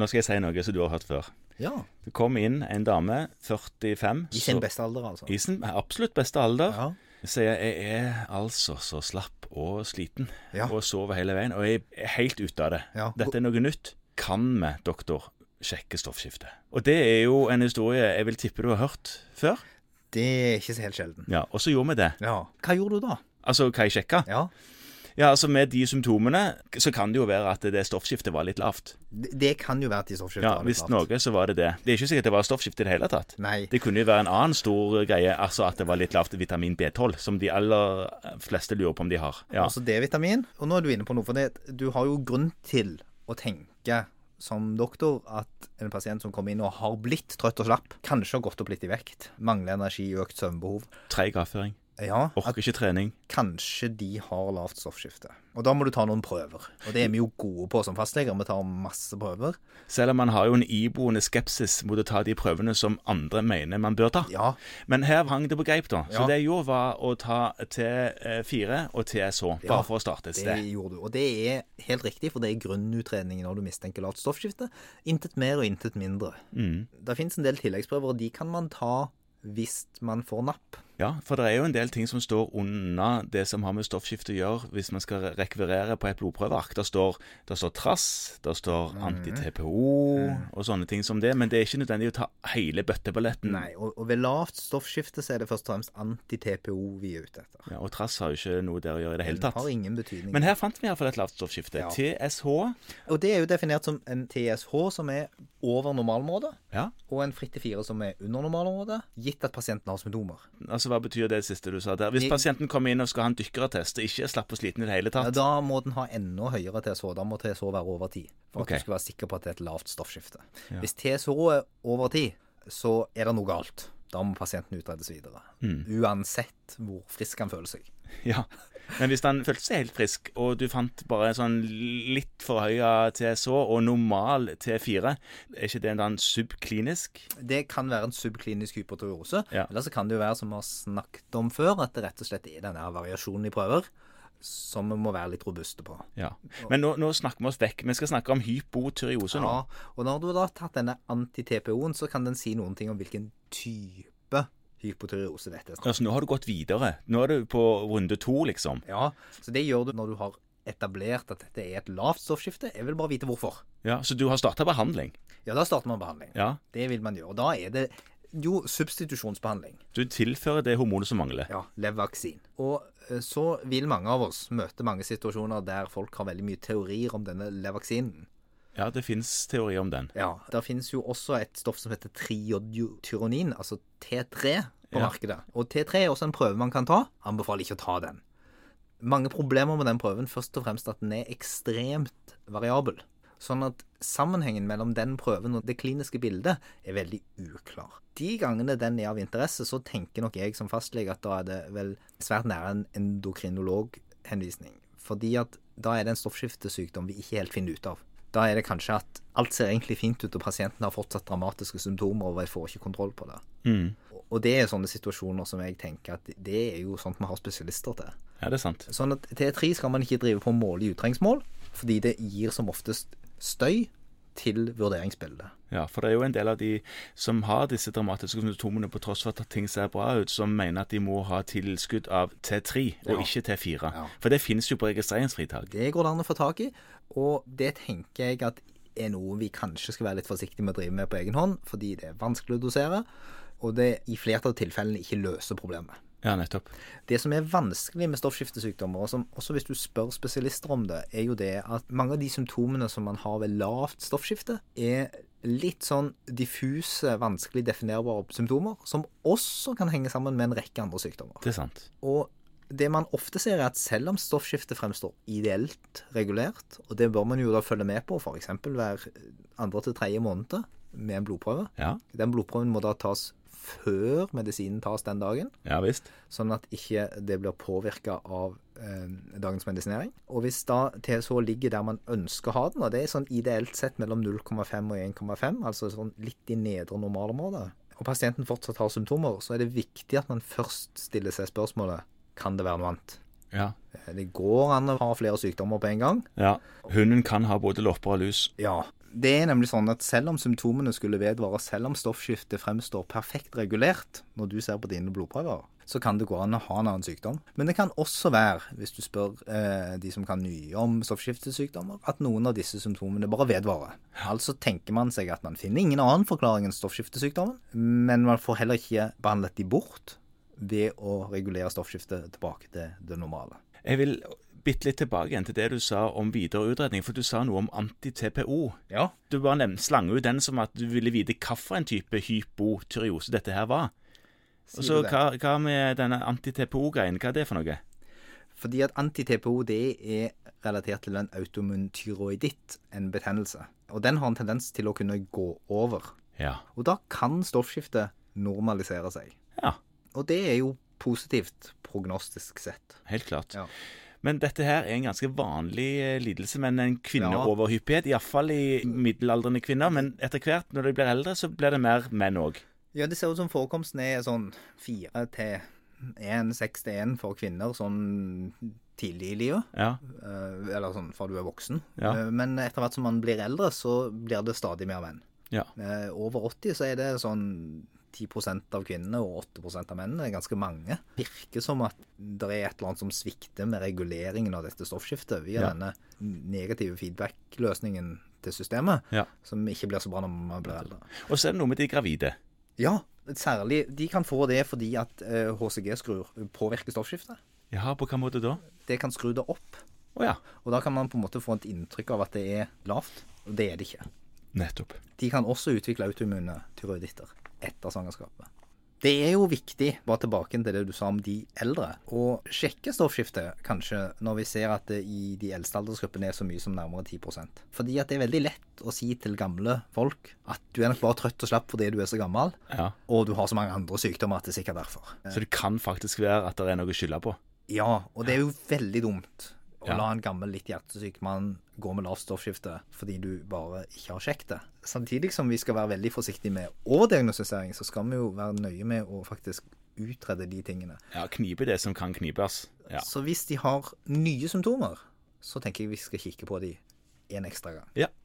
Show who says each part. Speaker 1: nå skal jeg si noe som du har hørt før.
Speaker 2: Ja.
Speaker 1: Det kom inn en dame, 45
Speaker 2: I sin
Speaker 1: så-
Speaker 2: beste alder, altså.
Speaker 1: I sin absolutt beste alder.
Speaker 2: Ja.
Speaker 1: Sier jeg er altså så slapp og sliten
Speaker 2: Ja.
Speaker 1: og sover hele veien. Og jeg er helt ute av det.
Speaker 2: Ja.
Speaker 1: Dette er noe nytt. Kan vi, doktor, sjekke stoffskiftet? Og det er jo en historie jeg vil tippe du har hørt før.
Speaker 2: Det er ikke så helt sjelden.
Speaker 1: Ja, Og så gjorde vi det.
Speaker 2: Ja. Hva gjorde du da?
Speaker 1: Altså, hva jeg sjekka?
Speaker 2: Ja.
Speaker 1: Ja, altså Med de symptomene så kan det jo være at det stoffskiftet var litt lavt.
Speaker 2: Det, det kan jo være at de stoffskiftet
Speaker 1: Ja,
Speaker 2: har det
Speaker 1: Hvis
Speaker 2: klart.
Speaker 1: noe, så var det det. Det er ikke sikkert det var stoffskifte i det hele tatt.
Speaker 2: Nei.
Speaker 1: Det kunne jo være en annen stor greie, altså at det var litt lavt vitamin B12, som de aller fleste lurer på om de har. Ja,
Speaker 2: Også D-vitamin. Og nå er du inne på noe, for det, du har jo grunn til å tenke som doktor at en pasient som kommer inn og har blitt trøtt og slapp, kanskje har gått opp litt i vekt, mangler energi, økt søvnbehov.
Speaker 1: Treig avføring.
Speaker 2: Ja, at
Speaker 1: Orker ikke trening.
Speaker 2: kanskje de har lavt stoffskifte. Og da må du ta noen prøver. Og det er vi jo gode på som fastleger, vi tar masse prøver.
Speaker 1: Selv om man har jo en iboende skepsis mot å ta de prøvene som andre mener man bør ta.
Speaker 2: Ja,
Speaker 1: Men her hang det på greip, da. Så
Speaker 2: Ja.
Speaker 1: det jeg gjorde, var å ta T4 og TSH, bare
Speaker 2: Ja,
Speaker 1: for å starte et
Speaker 2: det
Speaker 1: sted.
Speaker 2: gjorde du. Og det er helt riktig, for det er grunnutredning når du mistenker lavt stoffskifte. Intet mer og intet mindre.
Speaker 1: Mm.
Speaker 2: Det finnes en del tilleggsprøver, og de kan man ta hvis man får napp.
Speaker 1: Ja, for det er jo en del ting som står unna det som har med stoffskifte å gjøre, hvis man skal rekvirere på et blodprøveark. Der står, der står trass, der står
Speaker 2: Mhm.
Speaker 1: anti-TPO og sånne ting som det, men det er ikke nødvendig å ta hele bøtteballetten.
Speaker 2: Nei, og, og ved lavt stoffskifte så er det først og fremst anti-TPO vi er ute etter.
Speaker 1: Ja, og trass har jo ikke noe der å gjøre i det hele
Speaker 2: Det
Speaker 1: tatt.
Speaker 2: har ingen betydning.
Speaker 1: Men her fant vi iallfall et lavt stoffskifte.
Speaker 2: Ja.
Speaker 1: TSH.
Speaker 2: og det er jo definert som en TSH som er over normalområdet,
Speaker 1: Ja,
Speaker 2: og en fritt til fire som er under normalområdet, gitt at pasienten har symptomer.
Speaker 1: altså Hva betyr det siste du sa der? Hvis
Speaker 2: Jeg-
Speaker 1: pasienten kommer inn og skal ha en dykkertest og ikke er slapp og sliten i det hele
Speaker 2: Ja,
Speaker 1: tatt,
Speaker 2: da må den ha enda høyere TSH. Da må TSH være over 10. For at
Speaker 1: Ok.
Speaker 2: du skal være sikker på at det er et lavt stoffskifte.
Speaker 1: Ja.
Speaker 2: Hvis TSH er over 10, så er det noe galt. Da må pasienten utredes videre.
Speaker 1: Hmm.
Speaker 2: Uansett hvor frisk han føler seg.
Speaker 1: Ja. Men hvis han følte seg helt frisk, og du fant bare sånn litt forhøya TSH og normal T4, er ikke det en annen subklinisk?
Speaker 2: Det kan være en subklinisk hypotyreose.
Speaker 1: Ja.
Speaker 2: Eller så kan det jo være, som vi har snakket om før, at det rett og slett er denne her variasjonen i prøver som vi må være litt robuste på.
Speaker 1: Ja. Men nå, nå snakker vi oss vekk. Vi skal snakke om hypotyreose nå.
Speaker 2: Ja, og når du da har tatt denne anti-TPO-en, så kan den si noen ting om hvilken type hypotyreose dette er.
Speaker 1: Altså, nå har du gått videre. Nå er du på runde to, liksom.
Speaker 2: Ja, så det gjør du når du har etablert at dette er et lavt stoffskifte. Jeg vil bare vite hvorfor.
Speaker 1: Ja, Så du har starta behandling.
Speaker 2: Ja, da starter man behandling.
Speaker 1: Ja.
Speaker 2: Det vil man gjøre. Og da er det jo substitusjonsbehandling.
Speaker 1: Du tilfører det hormonet som mangler.
Speaker 2: Ja, Levvaksin. Og eh, så vil mange av oss møte mange situasjoner der folk har veldig mye teorier om denne Levvaksinen.
Speaker 1: Ja, det fins teori om den.
Speaker 2: Ja, Der finnes jo også et stoff som heter triodtyronin, altså T3, på
Speaker 1: Ja.
Speaker 2: markedet. Og T3 er også en prøve man kan ta. Anbefaler ikke å ta den. Mange problemer med den prøven, først og fremst at den er ekstremt variabel. Sånn at sammenhengen mellom den prøven og det kliniske bildet er veldig uklar. De gangene den er av interesse, så tenker nok jeg som fastlege at da er det vel svært nære en endokrinologhenvisning. Fordi at da er det en stoffskiftesykdom vi ikke helt finner ut av. Da er det kanskje at alt ser egentlig fint ut, og pasienten har fortsatt dramatiske symptomer, og jeg får ikke kontroll på det.
Speaker 1: Mm.
Speaker 2: Og det er sånne situasjoner som jeg tenker at det er jo sånt vi har spesialister til.
Speaker 1: Ja, det er sant.
Speaker 2: Sånn at T3 skal man ikke drive på å måle i utrengsmål, fordi det gir som oftest støy til vurderingsbildet.
Speaker 1: Ja, for det er jo en del av de som har disse dramatiske symptomene på tross for at ting ser bra ut, som mener at de må ha tilskudd av T3 og
Speaker 2: Ja.
Speaker 1: ikke T4.
Speaker 2: Ja.
Speaker 1: For det finnes jo på registreringsfritak.
Speaker 2: Det går det an å få tak i, og det tenker jeg at er noe vi kanskje skal være litt forsiktige med å drive med på egen hånd, fordi det er vanskelig å dosere, og det i flertallet av tilfellene ikke løser problemet.
Speaker 1: Ja, nettopp.
Speaker 2: Det som er vanskelig med stoffskiftesykdommer, og som også hvis du spør spesialister om det, er jo det at mange av de symptomene som man har ved lavt stoffskifte, er litt sånn diffuse, vanskelig definerbare symptomer, som også kan henge sammen med en rekke andre sykdommer.
Speaker 1: Det er sant.
Speaker 2: Og det man ofte ser er at selv om stoffskiftet fremstår ideelt regulert, og det bør man jo da følge med på, f.eks. hver andre til tredje måned med en blodprøve
Speaker 1: Ja,
Speaker 2: Den blodprøven må da tas før medisinen tas den dagen
Speaker 1: ja visst.
Speaker 2: sånn at ikke det blir påvirka av eh, dagens medisinering. Og hvis da TSH ligger der man ønsker å ha den, og det er sånn ideelt sett mellom 0,5 og 1,5, altså sånn litt i nedre normalområde, og pasienten fortsatt har symptomer, så er det viktig at man først stiller seg spørsmålet kan det være noe annet.
Speaker 1: Ja.
Speaker 2: Eh, Det går an å ha flere sykdommer på en gang.
Speaker 1: ja. Hunden kan ha både lopper og lus.
Speaker 2: Ja, Det er nemlig sånn at selv om symptomene skulle vedvare, selv om stoffskiftet fremstår perfekt regulert når du ser på dine blodprøver, så kan det gå an å ha en annen sykdom. Men det kan også være, hvis du spør eh, de som kan mye om stoffskiftesykdommer, at noen av disse symptomene bare vedvarer. Altså tenker man seg at man finner ingen annen forklaring enn stoffskiftesykdommen, men man får heller ikke behandlet de bort ved å regulere stoffskiftet tilbake til det normale.
Speaker 1: Jeg vil bitte litt tilbake igjen til det du sa om videre utredning, for du sa noe om anti-TPO.
Speaker 2: Ja.
Speaker 1: Du bare nevnte, slang ut den som at du ville vite hvilken type hypotyreose dette her var. Og så
Speaker 2: du det?
Speaker 1: hva, hva med denne anti-TPO-greien, hva er det for noe?
Speaker 2: Fordi at anti-TPO det er relatert til en autoimmun tyroiditt, en betennelse. Og den har en tendens til å kunne gå over.
Speaker 1: Ja.
Speaker 2: Og da kan stoffskiftet normalisere seg.
Speaker 1: Ja,
Speaker 2: Og det er jo positivt prognostisk sett.
Speaker 1: helt klart.
Speaker 2: Ja.
Speaker 1: Men dette her er en ganske vanlig eh, lidelse, men en
Speaker 2: Ja.
Speaker 1: kvinneoverhyppighet. Iallfall i middelaldrende kvinner, men etter hvert, når de blir eldre, så blir det mer menn òg.
Speaker 2: Ja, det ser ut som forekomsten er sånn 4 til 1, 6 til 1 for kvinner sånn tidlig i livet.
Speaker 1: Ja.
Speaker 2: Eh, Eller sånn fra du er voksen.
Speaker 1: Ja.
Speaker 2: Eh, Men etter hvert som man blir eldre, så blir det stadig mer menn.
Speaker 1: Ja.
Speaker 2: Eh, Over 80 så er det sånn 10 av kvinnene og 8 av mennene. Det er ganske mange. Virker som at det er et eller annet som svikter med reguleringen av dette stoffskiftet via
Speaker 1: Ja.
Speaker 2: denne negative feedback-løsningen til systemet,
Speaker 1: Ja.
Speaker 2: som ikke blir så bra når man blir eldre.
Speaker 1: Og så er det noe med de gravide.
Speaker 2: Ja, særlig. De kan få det fordi at eh, HCG skrur påvirker stoffskiftet.
Speaker 1: Ja, på hvilken måte da?
Speaker 2: Det kan skru det opp.
Speaker 1: Å ja.
Speaker 2: Og da kan man på en måte få et inntrykk av at det er lavt, og det er det ikke.
Speaker 1: Nettopp.
Speaker 2: De kan også utvikle autoimmune tyroiditter etter svangerskapet. Det er jo viktig, bare tilbake til det du sa om de eldre, å sjekke stoffskiftet kanskje når vi ser at det i de eldste aldersgruppene er så mye som nærmere 10 Fordi at det er veldig lett å si til gamle folk at du er nok bare trøtt og slapp fordi du er så gammel,
Speaker 1: Ja.
Speaker 2: og du har så mange andre sykdommer at det er sikkert derfor.
Speaker 1: Så det kan faktisk være at det er noe å skylde på.
Speaker 2: Ja, og det er jo veldig dumt å
Speaker 1: Ja.
Speaker 2: la en gammel, litt hjertesyk mann gå med lavt stoffskifte fordi du bare ikke har sjekket det. Samtidig som vi skal være veldig forsiktige med overdiagnostisering, så skal vi jo være nøye med å faktisk utrede de tingene.
Speaker 1: Ja, knipe det som kan knipes. Ja.
Speaker 2: Så hvis de har nye symptomer, så tenker jeg vi skal kikke på de en ekstra gang.
Speaker 1: ja.